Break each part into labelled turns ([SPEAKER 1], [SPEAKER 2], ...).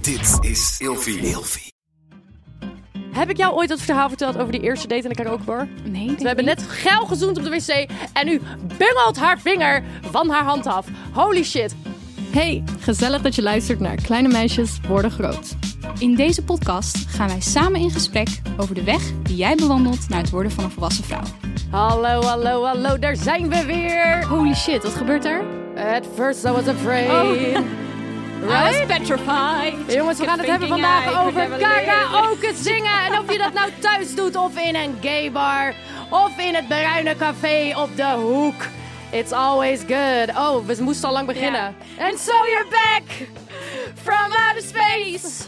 [SPEAKER 1] Dit is Ilfie.
[SPEAKER 2] Heb ik jou ooit dat verhaal verteld over die eerste date in de karaokebar?
[SPEAKER 3] Nee, denk
[SPEAKER 2] We hebben
[SPEAKER 3] niet.
[SPEAKER 2] net geil gezoend op de wc en nu bungelt haar vinger van haar hand af. Holy shit.
[SPEAKER 3] Hey, gezellig dat je luistert naar Kleine Meisjes Worden Groot. In deze podcast gaan wij samen in gesprek over de weg die jij bewandelt naar het worden van een volwassen vrouw.
[SPEAKER 2] Hallo, hallo, hallo, daar zijn we weer.
[SPEAKER 3] Holy shit, wat gebeurt er? Oh.
[SPEAKER 2] At first I was afraid. Right?
[SPEAKER 3] petrified.
[SPEAKER 2] Jongens, we gaan het hebben vandaag over karaoke zingen. En of je dat nou thuis doet of in een gaybar. Of in het Bruine Café op de hoek. It's always good. Oh, we moesten al lang beginnen. And so you're back from outer space.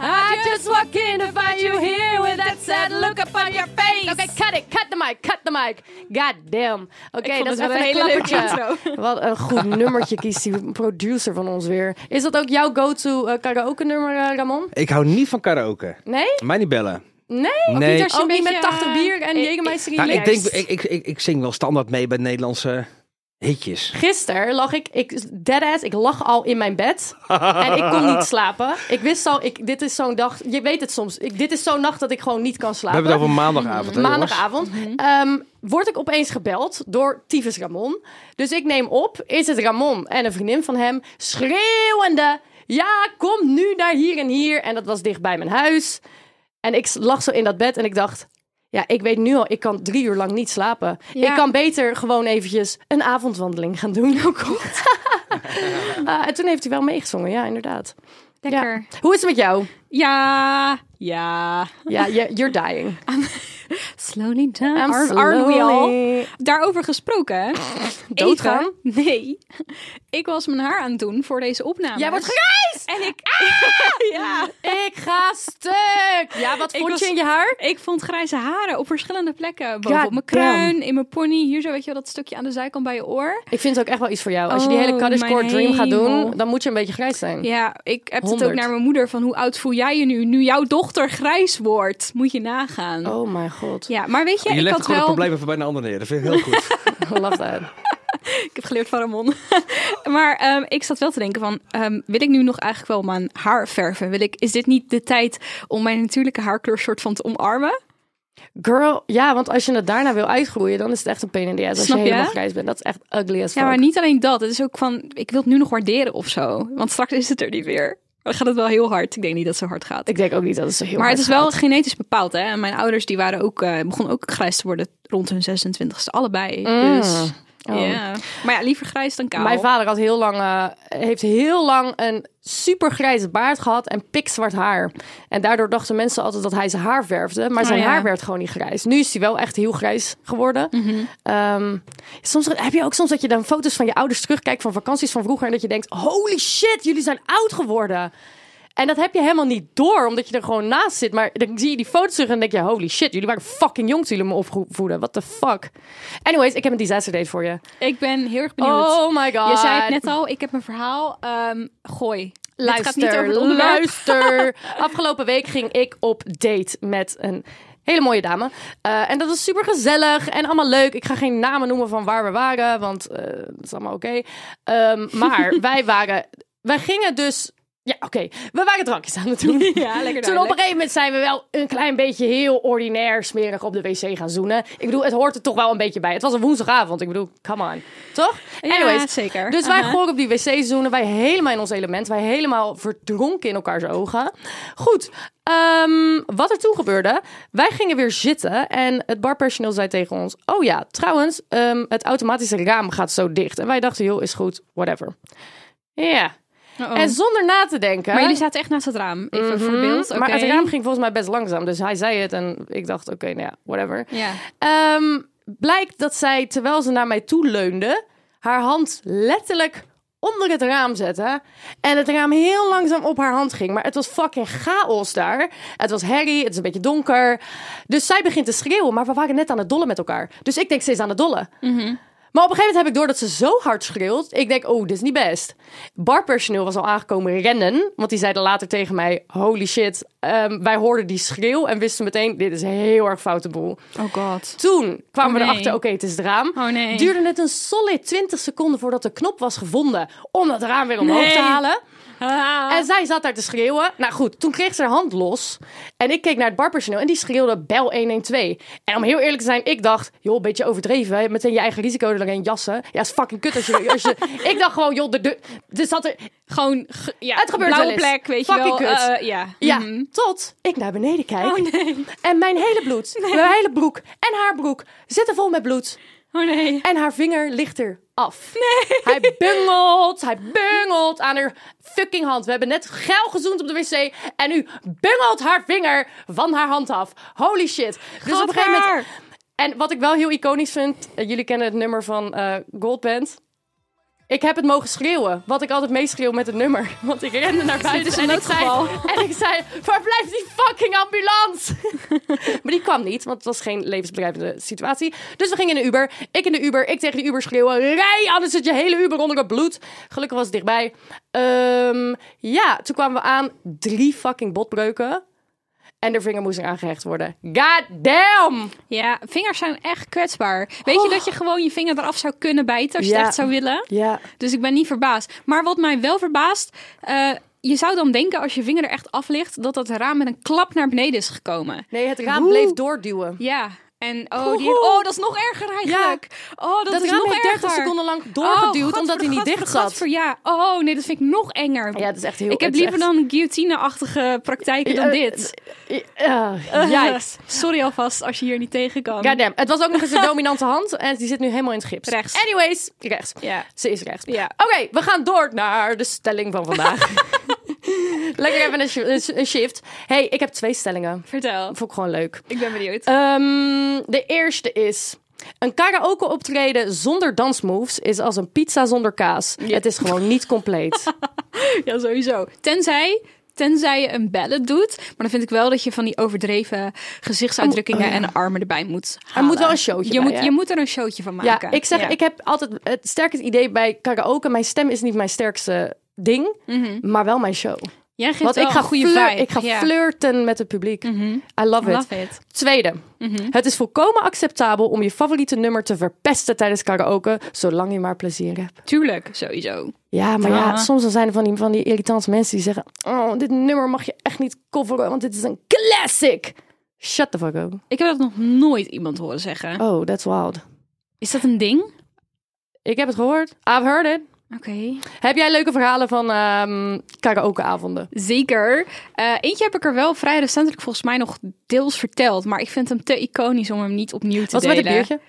[SPEAKER 2] I just walk in to find you here with that sad look upon your face. Okay, cut it. Cut the mic. Cut the mic. God damn. Oké, dat is
[SPEAKER 3] het wel
[SPEAKER 2] even
[SPEAKER 3] een
[SPEAKER 2] een
[SPEAKER 3] hele leuke
[SPEAKER 2] klappertje. Wat een goed nummertje kiest die producer van ons weer. Is dat ook jouw go-to eh, karaoke nummer, eh, Ramon?
[SPEAKER 4] Ik hou niet van karaoke.
[SPEAKER 2] Nee?
[SPEAKER 4] Mij niet bellen.
[SPEAKER 2] Nee?
[SPEAKER 4] Nee.
[SPEAKER 2] Niet als je
[SPEAKER 3] Ook
[SPEAKER 2] een beetje
[SPEAKER 3] niet
[SPEAKER 2] met
[SPEAKER 3] met
[SPEAKER 2] 80
[SPEAKER 3] 80
[SPEAKER 2] bier en
[SPEAKER 3] eh,
[SPEAKER 2] Jägermeister
[SPEAKER 4] Nou, ik, denk,
[SPEAKER 2] relaxed.
[SPEAKER 4] ik, ik, ik, ik zing wel standaard mee bij Nederlandse hitjes.
[SPEAKER 2] Gisteren lag ik, ik, deadass, ik lag al in mijn bed en ik kon niet slapen. Ik wist al, ik, dit is zo'n dag, je weet het soms, ik, dit is zo'n nacht dat ik gewoon niet kan
[SPEAKER 4] We
[SPEAKER 2] slapen.
[SPEAKER 4] hebben het over maandagavond. hè,
[SPEAKER 2] Maandagavond ehm, word ik opeens gebeld door tyfus Ramon. Dus ik neem op, is het Ramon en een vriendin van hem schreeuwende... Ja, kom nu naar hier en hier. En dat was dicht bij mijn huis. En ik lag zo in dat bed en ik dacht... Ja, ik weet nu al, ik kan drie uur lang niet slapen.
[SPEAKER 3] Ja.
[SPEAKER 2] Ik kan beter gewoon eventjes een avondwandeling gaan doen. Oh god. Ah, en toen heeft hij wel meegezongen, ja, inderdaad.
[SPEAKER 3] Lekker.
[SPEAKER 2] Ja. Hoe is het met jou?
[SPEAKER 3] Ja, ja.
[SPEAKER 2] Ja, je- you're dying.
[SPEAKER 3] Slowly down.
[SPEAKER 2] I'm
[SPEAKER 3] Are, aren't we all?
[SPEAKER 2] slowly-
[SPEAKER 3] Daarover gesproken.
[SPEAKER 2] Doodgaan?
[SPEAKER 3] Even- Nee. Ik was mijn haar aan het doen voor deze opname.
[SPEAKER 2] Jij wordt gereisd!
[SPEAKER 3] En ik... ja.
[SPEAKER 2] Ik ga stuk! Ja, wat
[SPEAKER 3] Ik
[SPEAKER 2] vond
[SPEAKER 3] was-
[SPEAKER 2] je in je haar?
[SPEAKER 3] Ik vond grijze haren op verschillende plekken. Boven op mijn
[SPEAKER 2] damn.
[SPEAKER 3] kruin, in mijn pony. Hier zo, weet je wel, dat stukje aan de zijkant bij je oor.
[SPEAKER 2] Ik vind het ook echt wel iets voor jou. Als je die
[SPEAKER 3] Oh,
[SPEAKER 2] hele Caddiscore
[SPEAKER 3] mijn
[SPEAKER 2] Dream gaat doen,
[SPEAKER 3] hemel.
[SPEAKER 2] dan moet je een beetje grijs zijn.
[SPEAKER 3] Ja, ik heb het ook
[SPEAKER 2] 100.
[SPEAKER 3] naar mijn moeder van hoe oud voel jij je nu? Nu jouw dochter grijs wordt, moet je nagaan.
[SPEAKER 2] Oh mijn god,
[SPEAKER 3] Ja, maar weet je,
[SPEAKER 4] Je
[SPEAKER 3] ik
[SPEAKER 4] legt
[SPEAKER 3] had
[SPEAKER 4] gewoon
[SPEAKER 3] wel...
[SPEAKER 4] het probleem even bij een ander neer. Dat vind ik heel goed.
[SPEAKER 2] I love that.
[SPEAKER 3] Ik heb geleerd van Ramon. maar ehm, ik zat wel te denken van, ehm, wil ik nu nog eigenlijk wel mijn haar verven? Wil ik, is dit niet de tijd om mijn natuurlijke haarkleur soort van te omarmen?
[SPEAKER 2] Girl, ja, want als je het daarna wil uitgroeien, dan is het echt een pain in the ass. Als
[SPEAKER 3] Snap
[SPEAKER 2] je
[SPEAKER 3] je?
[SPEAKER 2] helemaal grijs bent, dat is echt ugly as fuck.
[SPEAKER 3] Ja, maar niet alleen dat. Het is ook van, ik wil het nu nog waarderen of zo. Want straks is het er niet weer. Dan gaat het wel heel hard. Ik denk niet dat het zo hard gaat.
[SPEAKER 2] Ik denk ook niet dat het zo heel
[SPEAKER 3] maar het
[SPEAKER 2] hard
[SPEAKER 3] is wel
[SPEAKER 2] gaat.
[SPEAKER 3] genetisch bepaald, hè? En mijn ouders die waren ook, eh, begonnen ook grijs te worden rond hun 26e, allebei. Dus ja.
[SPEAKER 2] Oh.
[SPEAKER 3] Maar ja, liever grijs dan kaal.
[SPEAKER 2] Mijn vader had heel lang, eh, heeft heel lang een supergrijze baard gehad en pikzwart haar. En daardoor dachten mensen altijd dat hij zijn haar verfde. Maar zijn
[SPEAKER 3] Nou ja.
[SPEAKER 2] haar werd gewoon niet grijs. Nu is hij wel echt heel grijs geworden.
[SPEAKER 3] Mhm.
[SPEAKER 2] Ehm, soms heb je ook soms dat je dan foto's van je ouders terugkijkt van vakanties van vroeger. En dat je denkt, holy shit, jullie zijn oud geworden. En dat heb je helemaal niet door, omdat je er gewoon naast zit. Maar dan zie je die foto's terug en denk je... holy shit, jullie waren fucking jong toen jullie me opvoeden. What the fuck? Anyways, ik heb een disaster date voor je.
[SPEAKER 3] Ik ben heel erg benieuwd.
[SPEAKER 2] Oh my god.
[SPEAKER 3] Je zei het net al, ik heb een verhaal. Ehm, gooi. Dit
[SPEAKER 2] Luister,
[SPEAKER 3] gaat niet over het onderwerp.
[SPEAKER 2] luister. Afgelopen week ging ik op date met een hele mooie dame. Eh, en dat was super gezellig en allemaal leuk. Ik ga geen namen noemen van waar we waren, want eh, dat is allemaal oké. Ehm, maar wij waren, wij gingen dus. Ja, oké. We waren drankjes aan het doen.
[SPEAKER 3] Ja, lekker
[SPEAKER 2] Toen op een
[SPEAKER 3] duidelijk.
[SPEAKER 2] gegeven moment zijn we wel een klein beetje heel ordinair smerig op de wc gaan zoenen. Ik bedoel, het hoort er toch wel een beetje bij. Het was een woensdagavond. Ik bedoel, come on. Toch?
[SPEAKER 3] Ja,
[SPEAKER 2] Anyways,
[SPEAKER 3] zeker.
[SPEAKER 2] Dus wij
[SPEAKER 3] Aha.
[SPEAKER 2] gewoon op die wc zoenen. Wij helemaal in ons element. Wij helemaal verdronken in elkaars ogen. Goed. ehm, wat er toen gebeurde. Wij gingen weer zitten. En het barpersoneel zei tegen ons. Oh ja, trouwens. ehm, het automatische raam gaat zo dicht. En wij dachten, joh, is goed. Whatever. Ja.
[SPEAKER 3] Uh-oh.
[SPEAKER 2] En zonder na te denken.
[SPEAKER 3] Oh. Maar jullie zaten echt naast het raam. Even voor beeld.
[SPEAKER 2] Mhm. Maar
[SPEAKER 3] oké.
[SPEAKER 2] het raam ging volgens mij best langzaam. Dus hij zei het en ik dacht, oké, nou ja, whatever.
[SPEAKER 3] Ja.
[SPEAKER 2] Ehm, blijkt dat zij, terwijl ze naar mij toe leunde, haar hand letterlijk onder het raam zette. En het raam heel langzaam op haar hand ging. Maar het was fucking chaos daar. Het was herrie, het is een beetje donker. Dus zij begint te schreeuwen, maar we waren net aan het dollen met elkaar. Dus ik denk, ze is aan het dollen. Maar op een gegeven moment heb ik door dat ze zo hard schreeuwt. Ik denk, oh, dit is niet best. Barpersoneel was al aangekomen rennen. Want die zeiden later tegen mij, holy shit. ehm, wij hoorden die schreeuw en wisten meteen, dit is heel erg foute boel.
[SPEAKER 3] Oh god.
[SPEAKER 2] Toen kwamen
[SPEAKER 3] Oh,
[SPEAKER 2] we
[SPEAKER 3] nee.
[SPEAKER 2] erachter, oké, het is het raam.
[SPEAKER 3] Oh, nee.
[SPEAKER 2] Duurde het een solid 20 seconden voordat de knop was gevonden om dat raam weer omhoog
[SPEAKER 3] Nee.
[SPEAKER 2] te halen.
[SPEAKER 3] Ah.
[SPEAKER 2] En zij zat daar te schreeuwen. Nou goed, toen kreeg ze haar hand los. En ik keek naar het barpersoneel en die schreeuwde bel 112. En om heel eerlijk te zijn, ik dacht, joh, een beetje overdreven. Hè? Meteen je eigen risico er doorheen jassen. Ja, is fucking kut als je... Als je ik dacht gewoon, joh, de, de, dus zat er...
[SPEAKER 3] Gewoon, ge- ja,
[SPEAKER 2] Het gebeurt
[SPEAKER 3] blauwe
[SPEAKER 2] wel eens.
[SPEAKER 3] plek, weet
[SPEAKER 2] Fucking
[SPEAKER 3] je wel.
[SPEAKER 2] kut.
[SPEAKER 3] Eh, ja.
[SPEAKER 2] Ja,
[SPEAKER 3] Mhm.
[SPEAKER 2] tot ik naar beneden kijk.
[SPEAKER 3] Oh nee,
[SPEAKER 2] En mijn hele bloed, mijn hele broek en haar broek zitten vol met bloed.
[SPEAKER 3] oh nee.
[SPEAKER 2] En haar vinger ligt er af. Nee. Hij bungelt, hij bungelt aan haar fucking hand. We hebben net geil gezoend op de wc. En nu bungelt haar vinger van haar hand af. Holy shit. Dus op een gegeven moment... En wat ik wel heel iconisch vind... eh, jullie kennen het nummer van eh Goldband. Ik heb het mogen schreeuwen. Wat ik altijd meeschreeuw met het nummer. Want ik rende naar buiten
[SPEAKER 3] is dus een
[SPEAKER 2] en, ik zei,
[SPEAKER 3] noodgeval.
[SPEAKER 2] en ik zei... Waar blijft die fucking ambulance? Maar die kwam niet, want het was geen levensbedreigende situatie. Dus we gingen in de Uber. Ik in de Uber, ik tegen de Uber schreeuwen. Rij, anders zit je hele Uber onder het bloed. Gelukkig was het dichtbij. Ehm, ja, toen kwamen we aan. Drie fucking botbreuken. En de vinger moest eraan gehecht worden. God damn!
[SPEAKER 3] Ja, vingers zijn echt kwetsbaar. Weet je dat je gewoon je vinger eraf zou kunnen bijten als je
[SPEAKER 2] Oh. Ja.
[SPEAKER 3] het echt zou willen?
[SPEAKER 2] Ja.
[SPEAKER 3] Dus ik ben niet verbaasd. Maar wat mij wel verbaast, eh, je zou dan denken als je vinger er echt af ligt, dat dat raam met een klap naar beneden is gekomen.
[SPEAKER 2] Nee, het raam bleef doorduwen.
[SPEAKER 3] Ja. En oh, die, oh, dat is nog erger eigenlijk. Oh, dat,
[SPEAKER 2] Dat,
[SPEAKER 3] is
[SPEAKER 2] raam
[SPEAKER 3] nog
[SPEAKER 2] heeft 30
[SPEAKER 3] erger.
[SPEAKER 2] seconden lang doorgeduwd
[SPEAKER 3] Oh,
[SPEAKER 2] omdat hij niet
[SPEAKER 3] gadver,
[SPEAKER 2] dicht
[SPEAKER 3] gadver,
[SPEAKER 2] zat.
[SPEAKER 3] gadver, ja. Oh nee, dat vind ik nog enger.
[SPEAKER 2] Ja, dat is echt heel...
[SPEAKER 3] ik heb
[SPEAKER 2] het is
[SPEAKER 3] liever
[SPEAKER 2] echt-
[SPEAKER 3] dan guillotine-achtige praktijken dan
[SPEAKER 2] Ja,
[SPEAKER 3] dit.
[SPEAKER 2] Eh, Yikes.
[SPEAKER 3] Sorry alvast als je hier niet tegen kan.
[SPEAKER 2] Goddamn. Het was ook nog eens een dominante hand en die zit nu helemaal in het gips.
[SPEAKER 3] Rechts.
[SPEAKER 2] Anyways, rechts.
[SPEAKER 3] Ja.
[SPEAKER 2] Ze is rechts.
[SPEAKER 3] Ja.
[SPEAKER 2] Oké, we gaan door naar de stelling van vandaag. Lekker even een, sh- een sh- een shift. hey, ik heb twee stellingen.
[SPEAKER 3] Vertel.
[SPEAKER 2] Vond ik gewoon leuk.
[SPEAKER 3] Ik ben benieuwd.
[SPEAKER 2] Ehm, de eerste is... Een karaoke optreden zonder dansmoves is als een pizza zonder kaas. Het is gewoon niet compleet.
[SPEAKER 3] Ja, sowieso. Tenzij, tenzij je een ballet doet. Maar dan vind ik wel dat je van die overdreven gezichtsuitdrukkingen en armen erbij moet halen.
[SPEAKER 2] Oh, moet wel een showtje
[SPEAKER 3] je
[SPEAKER 2] bij,
[SPEAKER 3] moet,
[SPEAKER 2] hè?
[SPEAKER 3] Je moet er een showtje van
[SPEAKER 2] ja,
[SPEAKER 3] maken.
[SPEAKER 2] ik zeg, ik heb altijd het sterkste idee bij karaoke. Mijn stem is niet mijn sterkste ding, maar wel mijn show.
[SPEAKER 3] Jij geeft
[SPEAKER 2] Want
[SPEAKER 3] Mhm. wel
[SPEAKER 2] ik ga,
[SPEAKER 3] een goede
[SPEAKER 2] flir-
[SPEAKER 3] vibe.
[SPEAKER 2] ik ga
[SPEAKER 3] Ja. Mhm.
[SPEAKER 2] flirten met het publiek. I love it.
[SPEAKER 3] Love Mhm. it.
[SPEAKER 2] Tweede. Het is volkomen acceptabel om je favoriete nummer te verpesten tijdens karaoke, zolang je maar plezier hebt.
[SPEAKER 3] Tuurlijk, sowieso.
[SPEAKER 2] Ja, maar ja,
[SPEAKER 3] Ja.
[SPEAKER 2] soms dan zijn er van die, van die irritante mensen die zeggen: Oh, dit nummer mag je echt niet coveren, want dit is een classic. Shut the fuck up.
[SPEAKER 3] Ik heb dat nog nooit iemand horen zeggen.
[SPEAKER 2] Oh, that's wild.
[SPEAKER 3] Is dat een ding? Oké.
[SPEAKER 2] Ik heb het gehoord. I've heard it. Heb jij leuke verhalen van ehm karaokeavonden?
[SPEAKER 3] Zeker. Eh, eentje heb ik er wel vrij recentelijk volgens mij nog deels verteld. Maar ik vind hem te iconisch om hem niet opnieuw te
[SPEAKER 2] Wat
[SPEAKER 3] delen.
[SPEAKER 2] met een biertje?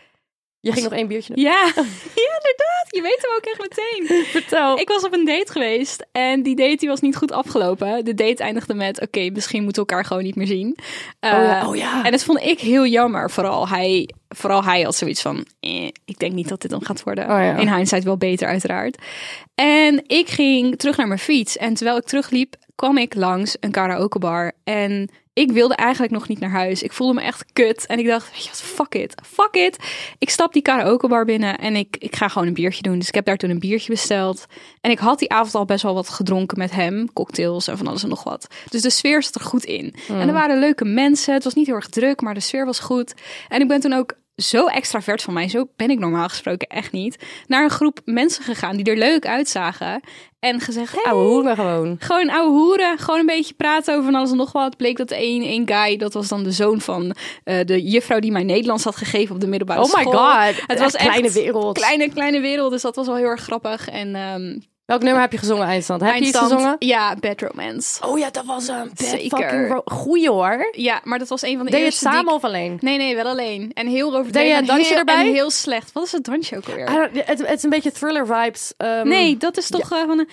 [SPEAKER 2] Je ging nog één biertje doen.
[SPEAKER 3] Ja. ja, inderdaad. Je weet hem ook echt meteen.
[SPEAKER 2] Vertel.
[SPEAKER 3] Ik was op een date geweest en die date die was niet goed afgelopen. De date eindigde met, oké, misschien moeten we elkaar gewoon niet meer zien. Eh,
[SPEAKER 2] Oh ja, oh ja.
[SPEAKER 3] En dat vond ik heel jammer. Vooral hij, vooral hij had zoiets van, eh, ik denk niet dat dit dan gaat worden.
[SPEAKER 2] Oh ja.
[SPEAKER 3] In hindsight wel beter uiteraard. En ik ging terug naar mijn fiets. En terwijl ik terugliep, kwam ik langs een karaokebar. En ik wilde eigenlijk nog niet naar huis. Ik voelde me echt kut. En ik dacht, weet je wat, fuck it, fuck it. Ik stap die karaokebar binnen en ik, ik ga gewoon een biertje doen. Dus ik heb daar toen een biertje besteld. En ik had die avond al best wel wat gedronken met hem. Cocktails en van alles en nog wat. Dus de sfeer zat er goed in. En er waren leuke mensen. Het was niet heel erg druk, maar de sfeer was goed. En ik ben toen ook zo extravert van mij, zo ben ik normaal gesproken echt niet, naar een groep mensen gegaan die er leuk uitzagen. En gezegd, hey,
[SPEAKER 2] Oude hoeren gewoon.
[SPEAKER 3] gewoon ouwe hoeren, gewoon een beetje praten over van alles en nog wat. Bleek dat één, één guy, dat was dan de zoon van eh, de juffrouw die mij Nederlands had gegeven op de middelbare
[SPEAKER 2] Oh my
[SPEAKER 3] school.
[SPEAKER 2] god.
[SPEAKER 3] Het was
[SPEAKER 2] Echt kleine
[SPEAKER 3] echt
[SPEAKER 2] wereld.
[SPEAKER 3] Kleine, kleine wereld, dus dat was wel heel erg grappig. En ehm
[SPEAKER 2] Welk nummer heb je gezongen, Eindstand? Heb je
[SPEAKER 3] eindstand-
[SPEAKER 2] iets gezongen?
[SPEAKER 3] Ja, Bad Romance.
[SPEAKER 2] Oh ja, dat was een bad
[SPEAKER 3] Zeker.
[SPEAKER 2] fucking ro- goeie hoor.
[SPEAKER 3] Ja, maar dat was een van de
[SPEAKER 2] Deed je het
[SPEAKER 3] eerste die ik-
[SPEAKER 2] samen of alleen?
[SPEAKER 3] Nee, nee, wel alleen. En heel
[SPEAKER 2] Deed
[SPEAKER 3] overdreven.
[SPEAKER 2] je een
[SPEAKER 3] en
[SPEAKER 2] dansje
[SPEAKER 3] heel-
[SPEAKER 2] erbij?
[SPEAKER 3] En heel slecht. Wat is het dansje ook alweer?
[SPEAKER 2] I don't- Het het is een beetje thriller vibes. Ehm,
[SPEAKER 3] Nee, dat is toch eh, van een...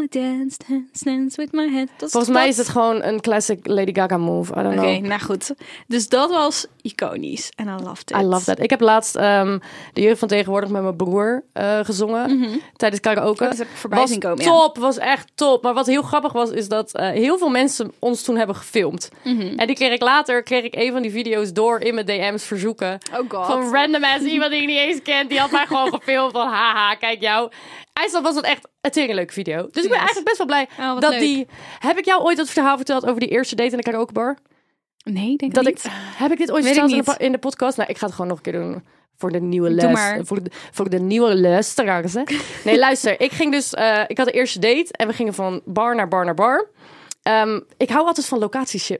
[SPEAKER 3] I dance, dance, dance with my head. Dat
[SPEAKER 2] Volgens
[SPEAKER 3] toch
[SPEAKER 2] mij
[SPEAKER 3] dat?
[SPEAKER 2] is het gewoon een classic Lady Gaga move. I don't
[SPEAKER 3] Oké,
[SPEAKER 2] know.
[SPEAKER 3] nou goed. Dus dat was iconisch. En I loved it.
[SPEAKER 2] I love that. Ik heb laatst ehm, de jeugd van tegenwoordig met mijn broer eh, gezongen tijdens karaoke.
[SPEAKER 3] Oh, dat heb ik voorbij
[SPEAKER 2] was
[SPEAKER 3] zien komen, ja.
[SPEAKER 2] top, was echt top. Maar wat heel grappig was, is dat eh, heel veel mensen ons toen hebben gefilmd.
[SPEAKER 3] Mhm.
[SPEAKER 2] En die kreeg ik later, kreeg ik een van die video's door in mijn DM's verzoeken.
[SPEAKER 3] Oh god.
[SPEAKER 2] Van random ass, iemand die ik niet eens ken, die had mij gewoon gefilmd van haha, kijk jou. IJsland was dat echt een teringleuke leuke video. Dus ik ben
[SPEAKER 3] Nice.
[SPEAKER 2] eigenlijk best wel blij
[SPEAKER 3] Oh, wat
[SPEAKER 2] dat
[SPEAKER 3] leuk.
[SPEAKER 2] die... Heb ik jou ooit dat verhaal verteld over die eerste date in de karaokebar?
[SPEAKER 3] Nee, denk
[SPEAKER 2] Dat
[SPEAKER 3] ik niet.
[SPEAKER 2] ik, heb ik dit ooit
[SPEAKER 3] Weet ik
[SPEAKER 2] verteld in de,
[SPEAKER 3] niet.
[SPEAKER 2] po- in de podcast? Nou, ik ga het gewoon nog een keer doen. Voor de nieuwe
[SPEAKER 3] Doe
[SPEAKER 2] les.
[SPEAKER 3] maar.
[SPEAKER 2] Voor, de, voor de nieuwe luisteraars. Hè? Nee, luister. Ik ging dus. eh, ik had de eerste date en we gingen van bar naar bar naar bar. Ehm, ik hou altijd van locaties eh,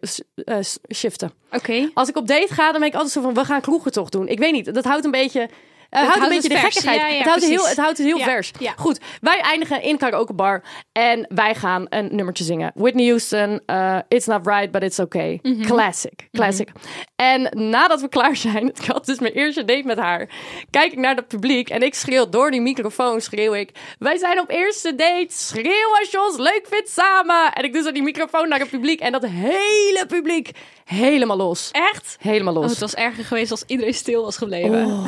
[SPEAKER 2] shiften.
[SPEAKER 3] Oké.
[SPEAKER 2] Als ik op date ga, dan ben ik altijd zo van we gaan kroegen toch doen. Ik weet niet. Dat houdt een beetje. eh, houdt een
[SPEAKER 3] houdt
[SPEAKER 2] beetje
[SPEAKER 3] het
[SPEAKER 2] de
[SPEAKER 3] vers.
[SPEAKER 2] gekkigheid.
[SPEAKER 3] Ja, ja,
[SPEAKER 2] het, houdt het heel,
[SPEAKER 3] precies.
[SPEAKER 2] het houdt het heel
[SPEAKER 3] Ja,
[SPEAKER 2] vers.
[SPEAKER 3] ja.
[SPEAKER 2] Goed, wij eindigen in een karaokebar. En wij gaan een nummertje zingen. Whitney Houston, eh, It's Not Right, But It's Okay.
[SPEAKER 3] Mhm.
[SPEAKER 2] Classic, classic. En nadat we klaar zijn, ik had dus mijn eerste date met haar. Kijk ik naar het publiek en ik schreeuw door die microfoon, schreeuw ik... Wij zijn op eerste date, schreeuw als je ons leuk vindt samen. En ik doe zo die microfoon naar het publiek en dat hele publiek helemaal los.
[SPEAKER 3] Echt?
[SPEAKER 2] Helemaal
[SPEAKER 3] Oh,
[SPEAKER 2] los. Oh.
[SPEAKER 3] het was erger geweest als iedereen stil was gebleven.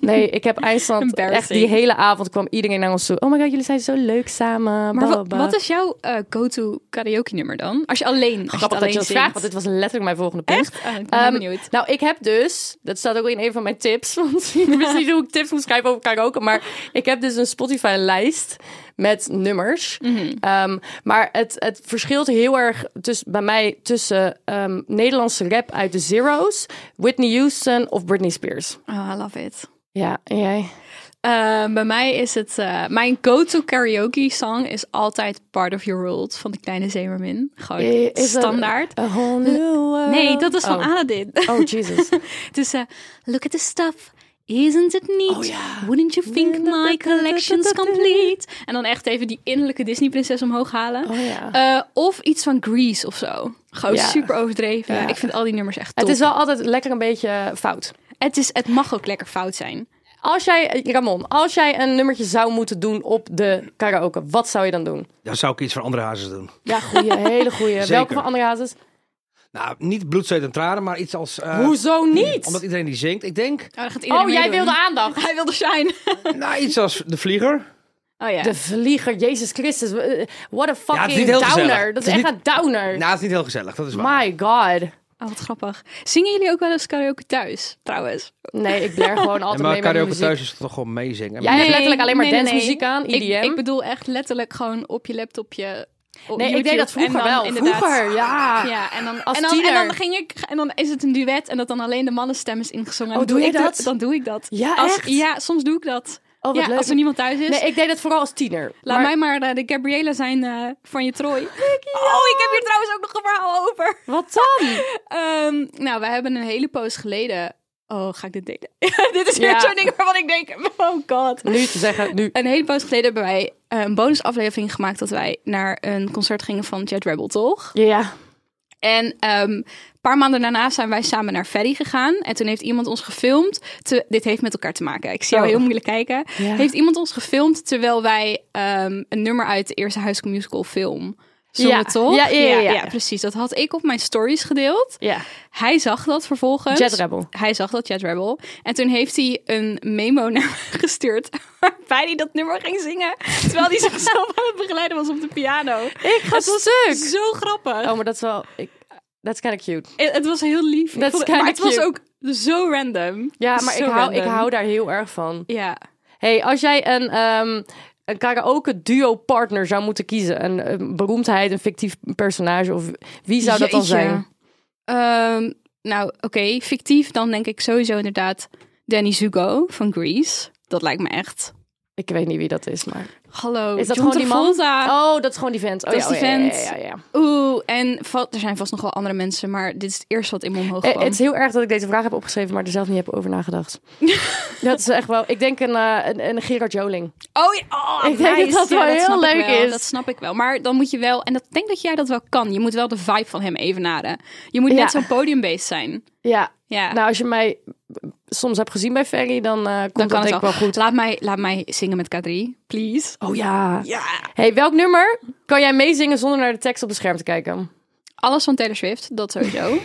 [SPEAKER 2] Nee, ik heb IJsland echt
[SPEAKER 3] Embarrassing.
[SPEAKER 2] die hele avond kwam iedereen naar ons toe. Oh my god, jullie zijn zo leuk samen.
[SPEAKER 3] Maar
[SPEAKER 2] bla,
[SPEAKER 3] wat,
[SPEAKER 2] bla, bla.
[SPEAKER 3] wat is jouw eh, go-to karaoke nummer dan? Als je alleen als
[SPEAKER 2] Oh, grappig dat
[SPEAKER 3] je het
[SPEAKER 2] je
[SPEAKER 3] alleen
[SPEAKER 2] dat vraagt? Want
[SPEAKER 3] zingt.
[SPEAKER 2] dit was letterlijk mijn volgende punt.
[SPEAKER 3] Echt? Ah, ik ben heel
[SPEAKER 2] Ehm,
[SPEAKER 3] benieuwd.
[SPEAKER 2] Nou, ik heb dus, dat staat ook in een van mijn tips, want ik wist niet hoe ik tips moet schrijven over karaoke, maar ik heb dus een Spotify-lijst met nummers.
[SPEAKER 3] Mhm.
[SPEAKER 2] Ehm, maar het, het verschilt heel erg dus bij mij tussen ehm, Nederlandse rap uit de Zero's, Whitney Houston of Britney Spears.
[SPEAKER 3] Oh, I love it.
[SPEAKER 2] Ja, en jij?
[SPEAKER 3] Eh, bij mij is het... eh, mijn go-to karaoke song is altijd Part of Your World van de Kleine Zeemermin. Gewoon
[SPEAKER 2] Eh, is dat-
[SPEAKER 3] standaard.
[SPEAKER 2] A whole new world.
[SPEAKER 3] Nee, dat is van
[SPEAKER 2] Oh.
[SPEAKER 3] Aladdin.
[SPEAKER 2] Oh, Jesus.
[SPEAKER 3] Dus eh, look at the stuff. Isn't it neat?
[SPEAKER 2] Oh, ja.
[SPEAKER 3] Wouldn't you think my collection's complete? En dan echt even die innerlijke Disney-prinses omhoog halen.
[SPEAKER 2] Oh, ja.
[SPEAKER 3] Eh, of iets van Grease of zo. Gewoon
[SPEAKER 2] Ja.
[SPEAKER 3] super overdreven.
[SPEAKER 2] Ja.
[SPEAKER 3] Ik vind al die nummers echt top.
[SPEAKER 2] het is wel altijd lekker een beetje fout.
[SPEAKER 3] het, is, het mag ook lekker fout zijn.
[SPEAKER 2] Als jij, eh, Ramon, als jij een nummertje zou moeten doen op de karaoke, wat zou je dan doen?
[SPEAKER 4] Dan zou ik iets van andere hazes doen.
[SPEAKER 2] Ja, goeie, hele goeie.
[SPEAKER 4] Zeker.
[SPEAKER 2] Welke van andere hazes?
[SPEAKER 4] Nou, niet bloed, zweet en tranen, maar iets als... eh,
[SPEAKER 2] Hoezo niet?
[SPEAKER 4] Omdat iedereen die zingt. Ik denk,
[SPEAKER 3] Oh, dan gaat iedereen
[SPEAKER 2] Oh, jij
[SPEAKER 3] meedoen.
[SPEAKER 2] wilde aandacht.
[SPEAKER 3] Hij wilde shine.
[SPEAKER 4] nou, iets als De Vlieger. Nou,
[SPEAKER 3] Oh ja.
[SPEAKER 2] De vlieger, Jezus Christus. eh, What a
[SPEAKER 4] het is
[SPEAKER 2] fucking
[SPEAKER 4] niet heel
[SPEAKER 2] downer.
[SPEAKER 4] gezellig.
[SPEAKER 2] Dat is
[SPEAKER 4] Het is
[SPEAKER 2] echt een downer.
[SPEAKER 4] Nou, het is niet heel gezellig, dat is waar.
[SPEAKER 2] My god.
[SPEAKER 3] Oh, wat grappig. Zingen jullie ook wel eens karaoke thuis, trouwens?
[SPEAKER 2] Nee, ik blair gewoon
[SPEAKER 4] en
[SPEAKER 2] altijd
[SPEAKER 4] maar
[SPEAKER 2] mee met
[SPEAKER 4] karaoke
[SPEAKER 2] muziek.
[SPEAKER 4] thuis is het toch gewoon meezingen.
[SPEAKER 2] Jij hebt letterlijk alleen maar dancemuziek aan, E
[SPEAKER 3] Ik-
[SPEAKER 2] EDM.
[SPEAKER 3] Ik, bedoel echt letterlijk gewoon op je laptopje. op
[SPEAKER 2] nee, ik
[SPEAKER 3] YouTube
[SPEAKER 2] deed dat vroeger
[SPEAKER 3] en dan
[SPEAKER 2] wel.
[SPEAKER 3] inderdaad-
[SPEAKER 2] Vroeger, ja.
[SPEAKER 3] Ja, en dan,
[SPEAKER 2] Als
[SPEAKER 3] en, dan, en dan
[SPEAKER 2] tiener.
[SPEAKER 3] ging ik en dan is het een duet en dat dan alleen de mannenstem is ingezongen. En
[SPEAKER 2] Oh,
[SPEAKER 3] dan
[SPEAKER 2] doe je
[SPEAKER 3] ik
[SPEAKER 2] dat?
[SPEAKER 3] Dan doe ik dat.
[SPEAKER 2] Ja,
[SPEAKER 3] Als-
[SPEAKER 2] echt?
[SPEAKER 3] Ja, soms doe ik dat.
[SPEAKER 2] Oh, wat
[SPEAKER 3] ja,
[SPEAKER 2] leuk.
[SPEAKER 3] als er niemand thuis is.
[SPEAKER 2] Nee, ik deed dat vooral als tiener.
[SPEAKER 3] Laat
[SPEAKER 2] Dus Maar-
[SPEAKER 3] mij maar eh, de Gabriela zijn eh, van je Troy. Oh, ik heb hier trouwens ook nog een verhaal over.
[SPEAKER 2] Wat dan?
[SPEAKER 3] Ehm, nou, we hebben een hele poos geleden. Oh, ga ik dit delen? dit is weer
[SPEAKER 2] Ja.
[SPEAKER 3] zo'n ding waarvan ik denk: oh god.
[SPEAKER 2] Nu te zeggen, nu.
[SPEAKER 3] Ehm, Een hele poos geleden hebben wij eh, een bonusaflevering gemaakt dat wij naar een concert gingen van Jet Rebel, toch?
[SPEAKER 2] Ja.
[SPEAKER 3] En ehm, een paar maanden daarna zijn wij samen naar Ferry gegaan. En toen heeft iemand ons gefilmd. te- dit heeft met elkaar te maken. Ik zie jou
[SPEAKER 2] Oh.
[SPEAKER 3] heel moeilijk kijken.
[SPEAKER 2] Ja.
[SPEAKER 3] Heeft iemand ons gefilmd terwijl wij ehm, een nummer uit de eerste High School Musical film zongen,
[SPEAKER 2] Ja.
[SPEAKER 3] toch?
[SPEAKER 2] Ja, ja, ja, ja, ja.
[SPEAKER 3] precies. Dat had ik op mijn stories gedeeld.
[SPEAKER 2] Ja.
[SPEAKER 3] Hij zag dat vervolgens.
[SPEAKER 2] Jet Rebel.
[SPEAKER 3] Hij zag dat, Jet Rebel. En toen heeft hij een memo naar me gestuurd. waarbij hij dat nummer ging zingen. Terwijl hij zichzelf aan het begeleiden was op de piano.
[SPEAKER 2] Ik ga
[SPEAKER 3] Het was
[SPEAKER 2] stuk.
[SPEAKER 3] Zo grappig. Eh,
[SPEAKER 2] Oh, maar dat is wel... Ik, that's kind of cute.
[SPEAKER 3] Het, het was heel lief. Ik
[SPEAKER 2] That's
[SPEAKER 3] vond het-
[SPEAKER 2] kinda
[SPEAKER 3] maar het was
[SPEAKER 2] cute.
[SPEAKER 3] ook zo random.
[SPEAKER 2] Ja, maar
[SPEAKER 3] Zo
[SPEAKER 2] ik hou, ik
[SPEAKER 3] random.
[SPEAKER 2] hou daar heel erg van.
[SPEAKER 3] Ja.
[SPEAKER 2] hey, als jij een, ehm een karaoke duo partner zou moeten kiezen, een, een beroemdheid, een fictief personage, of wie zou dat dan
[SPEAKER 3] Jeetje.
[SPEAKER 2] zijn?
[SPEAKER 3] Ehm, nou, oké. Fictief, dan denk ik sowieso inderdaad Danny Zugo van Grease. Dat lijkt me echt.
[SPEAKER 2] Ik weet niet wie dat is, maar...
[SPEAKER 3] Hallo.
[SPEAKER 2] Is dat
[SPEAKER 3] John
[SPEAKER 2] gewoon die man?
[SPEAKER 3] Travolta.
[SPEAKER 2] Oh, dat is gewoon die vent. Oh,
[SPEAKER 3] Dat
[SPEAKER 2] ja,
[SPEAKER 3] is die
[SPEAKER 2] oh, ja,
[SPEAKER 3] vent.
[SPEAKER 2] Ja, ja, ja.
[SPEAKER 3] Oeh, en va- er zijn vast nog wel andere mensen, maar dit is het eerste wat in me omhoog
[SPEAKER 2] Eh,
[SPEAKER 3] kwam.
[SPEAKER 2] het is heel erg dat ik deze vraag heb opgeschreven, maar er zelf niet heb over nagedacht. dat is echt wel... Ik denk een, eh, een, een Gerard Joling.
[SPEAKER 3] oh, ja, oh,
[SPEAKER 2] Ik denk dat dat wel heel
[SPEAKER 3] snap ik
[SPEAKER 2] leuk
[SPEAKER 3] wel,
[SPEAKER 2] is.
[SPEAKER 3] Dat snap ik wel. Maar dan moet je wel, en dat ik denk dat jij dat wel kan. Je moet wel de vibe van hem evenaren. Je moet
[SPEAKER 2] Ja.
[SPEAKER 3] net zo'n podiumbeest zijn.
[SPEAKER 2] Ja,
[SPEAKER 3] Ja,
[SPEAKER 2] nou, als je mij soms hebt gezien bij Ferry, dan eh komt
[SPEAKER 3] dan
[SPEAKER 2] dat
[SPEAKER 3] kan
[SPEAKER 2] denk
[SPEAKER 3] het
[SPEAKER 2] ik wel goed.
[SPEAKER 3] Laat mij, laat mij zingen met K3, please.
[SPEAKER 2] Oh ja.
[SPEAKER 3] Ja.
[SPEAKER 2] Hey, welk nummer kan jij meezingen zonder naar de tekst op het scherm te kijken?
[SPEAKER 3] Alles van Taylor Swift, dat sowieso.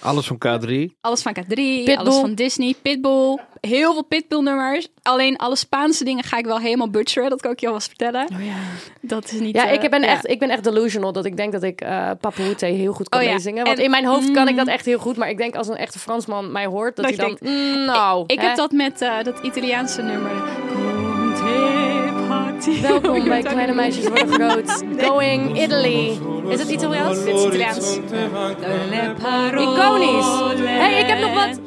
[SPEAKER 4] Alles van K3.
[SPEAKER 3] alles van K3, alles
[SPEAKER 2] Pitbull.
[SPEAKER 3] van Disney, Pitbull. Heel veel Pitbull-nummers. Alleen alle Spaanse dingen ga ik wel helemaal butcheren. Dat kan ik je alvast vertellen.
[SPEAKER 2] Oh ja.
[SPEAKER 3] Dat is niet...
[SPEAKER 2] Ja,
[SPEAKER 3] eh,
[SPEAKER 2] ik ben,
[SPEAKER 3] ja.
[SPEAKER 2] echt, ik ben echt delusional dat ik denk dat ik eh Papa Hoete heel goed kan
[SPEAKER 3] Oh ja,
[SPEAKER 2] meezingen. Want
[SPEAKER 3] en- Mm.
[SPEAKER 2] in mijn hoofd kan ik dat echt heel goed. Maar ik denk als een echte Fransman mij hoort, dat,
[SPEAKER 3] Dat
[SPEAKER 2] hij
[SPEAKER 3] je
[SPEAKER 2] dan... mm, nou,
[SPEAKER 3] Ik
[SPEAKER 2] hè?
[SPEAKER 3] heb dat met eh, dat Italiaanse nummer. Conte parti.
[SPEAKER 2] Welkom
[SPEAKER 3] Ik
[SPEAKER 2] bij
[SPEAKER 3] weet ook
[SPEAKER 2] Kleine
[SPEAKER 3] niet.
[SPEAKER 2] Meisjes Worden Groot. Going Italy. Is het Italiaans?
[SPEAKER 3] Dit is Italiaans.
[SPEAKER 2] Iconisch. hey, ik heb nog wat.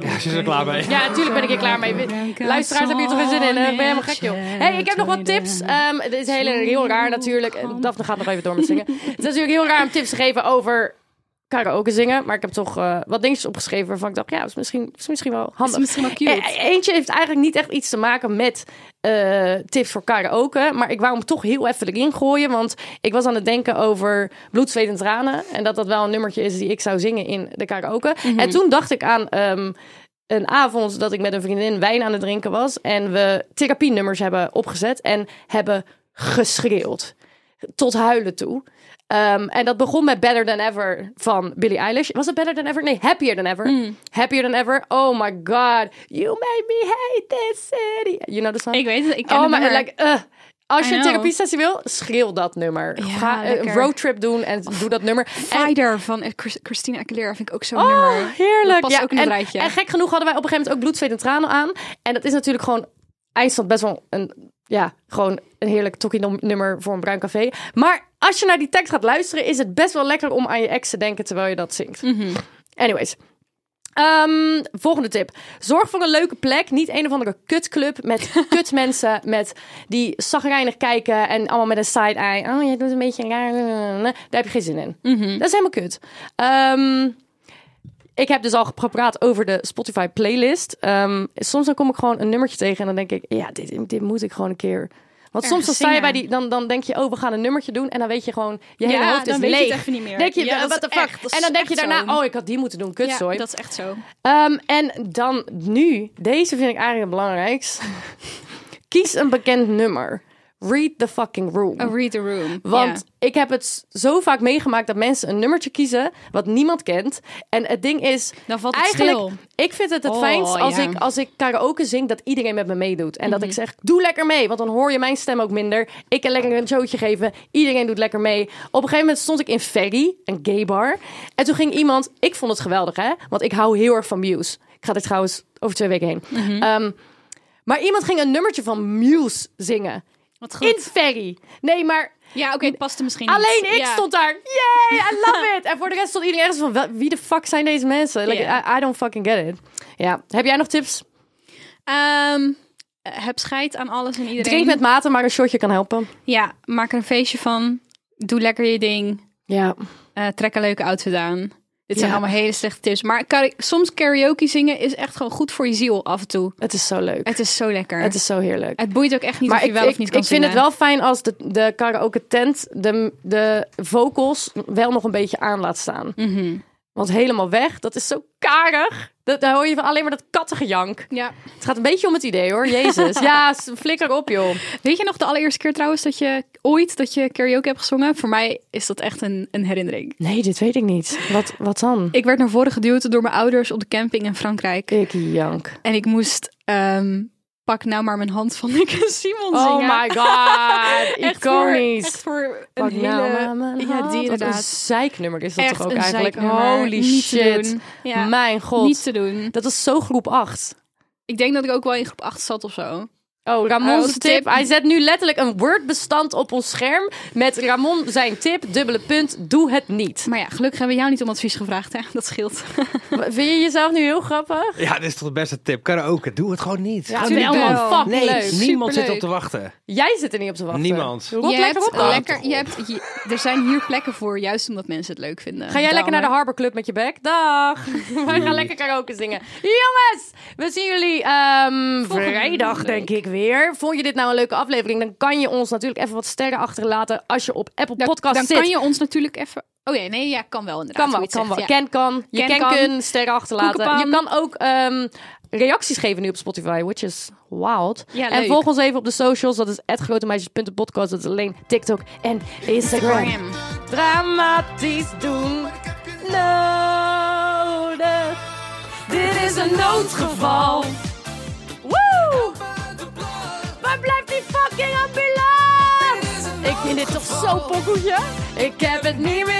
[SPEAKER 4] Ja, ze is er klaar mee.
[SPEAKER 2] Ja, natuurlijk ben ik er klaar mee. Luisteraars, heb je toch geen zin in? hè? Ik ben helemaal gek, joh. hey, ik heb nog wat tips. Ehm, het is heel, heel raar natuurlijk. Eh, Daphne gaat nog even door met zingen. het is natuurlijk heel raar om tips te geven over karaoke zingen. Maar ik heb toch eh, wat dingetjes opgeschreven waarvan ik dacht... ja, is misschien, is misschien wel handig.
[SPEAKER 3] is misschien wel cute.
[SPEAKER 2] E- eentje heeft eigenlijk niet echt iets te maken met eh, tips voor karaoke. Maar ik wou hem toch heel even erin gooien. Want ik was aan het denken over bloed, zweet en tranen. En dat dat wel een nummertje is die ik zou zingen in de karaoke.
[SPEAKER 3] Mhm.
[SPEAKER 2] En toen dacht ik aan ehm, een avond dat ik met een vriendin wijn aan het drinken was. En we therapienummers hebben opgezet en hebben geschreeuwd. Tot huilen toe. Ehm, en dat begon met Better Than Ever van Billie Eilish. Was het Better Than Ever? Nee, Happier Than Ever.
[SPEAKER 3] Hmm.
[SPEAKER 2] Happier Than Ever. Oh my god. You made me hate this city. You know the song?
[SPEAKER 3] eh, Ik weet het, ik ken
[SPEAKER 2] oh
[SPEAKER 3] het
[SPEAKER 2] my
[SPEAKER 3] nummer.
[SPEAKER 2] like, eh, Als
[SPEAKER 3] I
[SPEAKER 2] je een
[SPEAKER 3] know.
[SPEAKER 2] therapie-sessie wil, schreeuw dat nummer.
[SPEAKER 3] Ja,
[SPEAKER 2] Ga eh, een
[SPEAKER 3] lekker.
[SPEAKER 2] roadtrip doen en doe dat nummer. En-
[SPEAKER 3] Fighter van eh, Chris- Christina Aguilera vind ik ook zo'n nummer.
[SPEAKER 2] Oh, heerlijk.
[SPEAKER 3] Dat past ook in het
[SPEAKER 2] en,
[SPEAKER 3] rijtje.
[SPEAKER 2] En gek genoeg hadden wij op een gegeven moment ook bloed, zweet en tranen aan. En dat is natuurlijk gewoon eindstand best wel een, ja, gewoon een heerlijk tokkie nummer voor een bruin café. Maar als je naar die tekst gaat luisteren, is het best wel lekker om aan je ex te denken terwijl je dat zingt. Anyways. Ehm, volgende tip. Zorg voor een leuke plek. Niet een of andere kutclub met kutmensen met die zagrijnig kijken en allemaal met een side-eye. Oh, je doet een beetje raar. Daar heb je geen zin in.
[SPEAKER 3] Mhm.
[SPEAKER 2] Dat is helemaal kut. Ehm, ik heb dus al gepraat over de Spotify playlist. Ehm, soms dan kom ik gewoon een nummertje tegen en dan denk ik, ja, dit, dit moet ik gewoon een keer. Want soms dan
[SPEAKER 3] Ergens
[SPEAKER 2] sta je bij
[SPEAKER 3] zingen.
[SPEAKER 2] die, dan, dan denk je, oh, we gaan een nummertje doen. En dan weet je gewoon, je hele
[SPEAKER 3] Ja,
[SPEAKER 2] hoofd is
[SPEAKER 3] dan weet je
[SPEAKER 2] leeg.
[SPEAKER 3] het even niet meer.
[SPEAKER 2] Denk je,
[SPEAKER 3] Ja, dat
[SPEAKER 2] what the
[SPEAKER 3] is
[SPEAKER 2] fuck?
[SPEAKER 3] echt- dat is
[SPEAKER 2] en dan denk je
[SPEAKER 3] echt
[SPEAKER 2] daarna,
[SPEAKER 3] zo.
[SPEAKER 2] oh, ik had die moeten doen,
[SPEAKER 3] ja,
[SPEAKER 2] kutzooi.
[SPEAKER 3] dat is echt zo.
[SPEAKER 2] Ehm, en dan nu, deze vind ik eigenlijk het belangrijkst. Kies een bekend nummer. Read the fucking room.
[SPEAKER 3] Oh, read the room.
[SPEAKER 2] Want ik heb het zo vaak meegemaakt dat mensen een nummertje kiezen wat niemand kent. En het ding is,
[SPEAKER 3] Dan valt het
[SPEAKER 2] eigenlijk,
[SPEAKER 3] stil.
[SPEAKER 2] ik vind het het
[SPEAKER 3] Oh,
[SPEAKER 2] fijnst als,
[SPEAKER 3] ja. Mhm.
[SPEAKER 2] ik, als ik karaoke zing, dat iedereen met me meedoet. En dat ik zeg, doe lekker mee, want dan hoor je mijn stem ook minder. Ik kan lekker een showtje geven, iedereen doet lekker mee. Op een gegeven moment stond ik in Ferry, een gay bar. En toen ging iemand, ik vond het geweldig hè, want ik hou heel erg van Muse. Ik ga dit trouwens over twee weken heen.
[SPEAKER 3] Mhm.
[SPEAKER 2] Ehm, maar iemand ging een nummertje van Muse zingen.
[SPEAKER 3] Wat
[SPEAKER 2] In
[SPEAKER 3] goed.
[SPEAKER 2] Ferry. Nee, maar
[SPEAKER 3] Ja, oké, het past er misschien
[SPEAKER 2] Alleen
[SPEAKER 3] niet.
[SPEAKER 2] ik
[SPEAKER 3] Ja.
[SPEAKER 2] stond daar. Yay, I love it. En voor de rest stond iedereen ergens van, "Wel, wie de fuck zijn deze mensen? Like,
[SPEAKER 3] Ja.
[SPEAKER 2] I, I don't fucking get it. Ja, heb jij nog tips?
[SPEAKER 3] Ehm, eh, heb scheid aan alles en iedereen.
[SPEAKER 2] Drink met mate, maar een shotje kan helpen.
[SPEAKER 3] Ja, maak er een feestje van. Doe lekker je ding.
[SPEAKER 2] Ja.
[SPEAKER 3] Eh, trek een leuke outfit aan. Dit zijn
[SPEAKER 2] Ja.
[SPEAKER 3] allemaal hele slechte tips. Maar kara- soms karaoke zingen is echt gewoon goed voor je ziel af en toe.
[SPEAKER 2] Het is zo leuk.
[SPEAKER 3] Het is zo lekker.
[SPEAKER 2] Het is zo heerlijk.
[SPEAKER 3] Het boeit ook echt niet
[SPEAKER 2] maar
[SPEAKER 3] of je
[SPEAKER 2] ik,
[SPEAKER 3] wel
[SPEAKER 2] ik,
[SPEAKER 3] of niet
[SPEAKER 2] ik
[SPEAKER 3] kan
[SPEAKER 2] vind het
[SPEAKER 3] zingen.
[SPEAKER 2] wel fijn als de, de karaoke tent de, de vocals wel nog een beetje aan laat staan.
[SPEAKER 3] Mhm.
[SPEAKER 2] Want helemaal weg, dat is zo karig. Dat, daar hoor je van alleen maar dat kattengejank.
[SPEAKER 3] Ja.
[SPEAKER 2] Het gaat een beetje om het idee hoor, jezus. ja, s- flikker op joh.
[SPEAKER 3] Weet je nog de allereerste keer trouwens dat je ooit dat je karaoke hebt gezongen? Voor mij is dat echt een, een herinnering.
[SPEAKER 2] Nee, dit weet ik niet. Wat, wat dan?
[SPEAKER 3] Ik werd naar voren geduwd door mijn ouders op de camping in Frankrijk.
[SPEAKER 2] Ik jank.
[SPEAKER 3] En ik moest ehm, pak nou maar mijn hand van Nick en Simon
[SPEAKER 2] Oh
[SPEAKER 3] zingen.
[SPEAKER 2] my god,
[SPEAKER 3] Echt voor, echt
[SPEAKER 2] iconisch.
[SPEAKER 3] voor een
[SPEAKER 2] Pak
[SPEAKER 3] hele...
[SPEAKER 2] nou maar mijn hand.
[SPEAKER 3] ja, die
[SPEAKER 2] Wat een
[SPEAKER 3] inderdaad.
[SPEAKER 2] zeiknummer is dat
[SPEAKER 3] Echt
[SPEAKER 2] toch ook
[SPEAKER 3] een
[SPEAKER 2] eigenlijk?
[SPEAKER 3] zeiknummer.
[SPEAKER 2] Holy
[SPEAKER 3] Niet te
[SPEAKER 2] shit.
[SPEAKER 3] doen. Ja.
[SPEAKER 2] Mijn god.
[SPEAKER 3] Niet te doen.
[SPEAKER 2] Dat is zo groep 8.
[SPEAKER 3] Ik denk dat ik ook wel in groep 8 zat of zo.
[SPEAKER 2] Oh, Ramon's
[SPEAKER 3] Ramon's
[SPEAKER 2] tip.
[SPEAKER 3] tip.
[SPEAKER 2] Hij zet nu letterlijk een Word-bestand op ons scherm met Ramon zijn tip, dubbele punt, doe het niet.
[SPEAKER 3] Maar ja, gelukkig hebben we jou niet om advies gevraagd. Hè? Dat scheelt.
[SPEAKER 2] Vind je jezelf nu heel grappig?
[SPEAKER 4] Ja, dit is toch de beste tip. Karaoke, doe het gewoon niet. Gewoon
[SPEAKER 3] tuurlijk
[SPEAKER 4] niet
[SPEAKER 2] wel,
[SPEAKER 4] doen.
[SPEAKER 3] wel.
[SPEAKER 2] fuck
[SPEAKER 4] Nee,
[SPEAKER 2] leuk.
[SPEAKER 4] niemand zit op
[SPEAKER 3] Superleuk.
[SPEAKER 4] te wachten.
[SPEAKER 2] Jij zit er niet op te wachten.
[SPEAKER 4] Niemand.
[SPEAKER 2] Rot
[SPEAKER 3] je
[SPEAKER 2] lekker
[SPEAKER 3] hebt,
[SPEAKER 2] op dan.
[SPEAKER 3] lekker, je hebt, je- er zijn hier plekken voor, juist omdat mensen het leuk vinden.
[SPEAKER 2] Ga jij lekker naar de Harbor Club met je bek? Dag! Wij gaan
[SPEAKER 4] Doei.
[SPEAKER 2] lekker karaoke zingen. Jongens, we zien jullie ehm, vrijdag
[SPEAKER 3] week.
[SPEAKER 2] denk ik weer. Vond je dit nou een leuke aflevering? Dan kan je ons natuurlijk even wat sterren achterlaten als je op Apple
[SPEAKER 3] dan,
[SPEAKER 2] Podcast
[SPEAKER 3] dan
[SPEAKER 2] zit.
[SPEAKER 3] kan je ons natuurlijk even... Oh ja, nee, ja, kan wel inderdaad.
[SPEAKER 2] kan wel,
[SPEAKER 3] hoe je
[SPEAKER 2] kan
[SPEAKER 3] het
[SPEAKER 2] wel.
[SPEAKER 3] zegt, ja.
[SPEAKER 2] Ken kan. Je
[SPEAKER 3] Ken
[SPEAKER 2] ken
[SPEAKER 3] kan.
[SPEAKER 2] kun, sterren achterlaten. Je
[SPEAKER 3] Koekenpan.
[SPEAKER 2] kan ook ehm, reacties geven nu op Spotify, which is wild.
[SPEAKER 3] Ja,
[SPEAKER 2] en
[SPEAKER 3] leuk.
[SPEAKER 2] volg ons even op de socials. Dat is @grotemeisjes.podcast. Dat is alleen TikTok en Instagram
[SPEAKER 3] Bam.
[SPEAKER 2] dramatisch doen nodig. Dit is een noodgeval. Woe! Waar blijft die fucking ambulance? Ik vind dit toch zo pokoetje? Ik heb het niet meer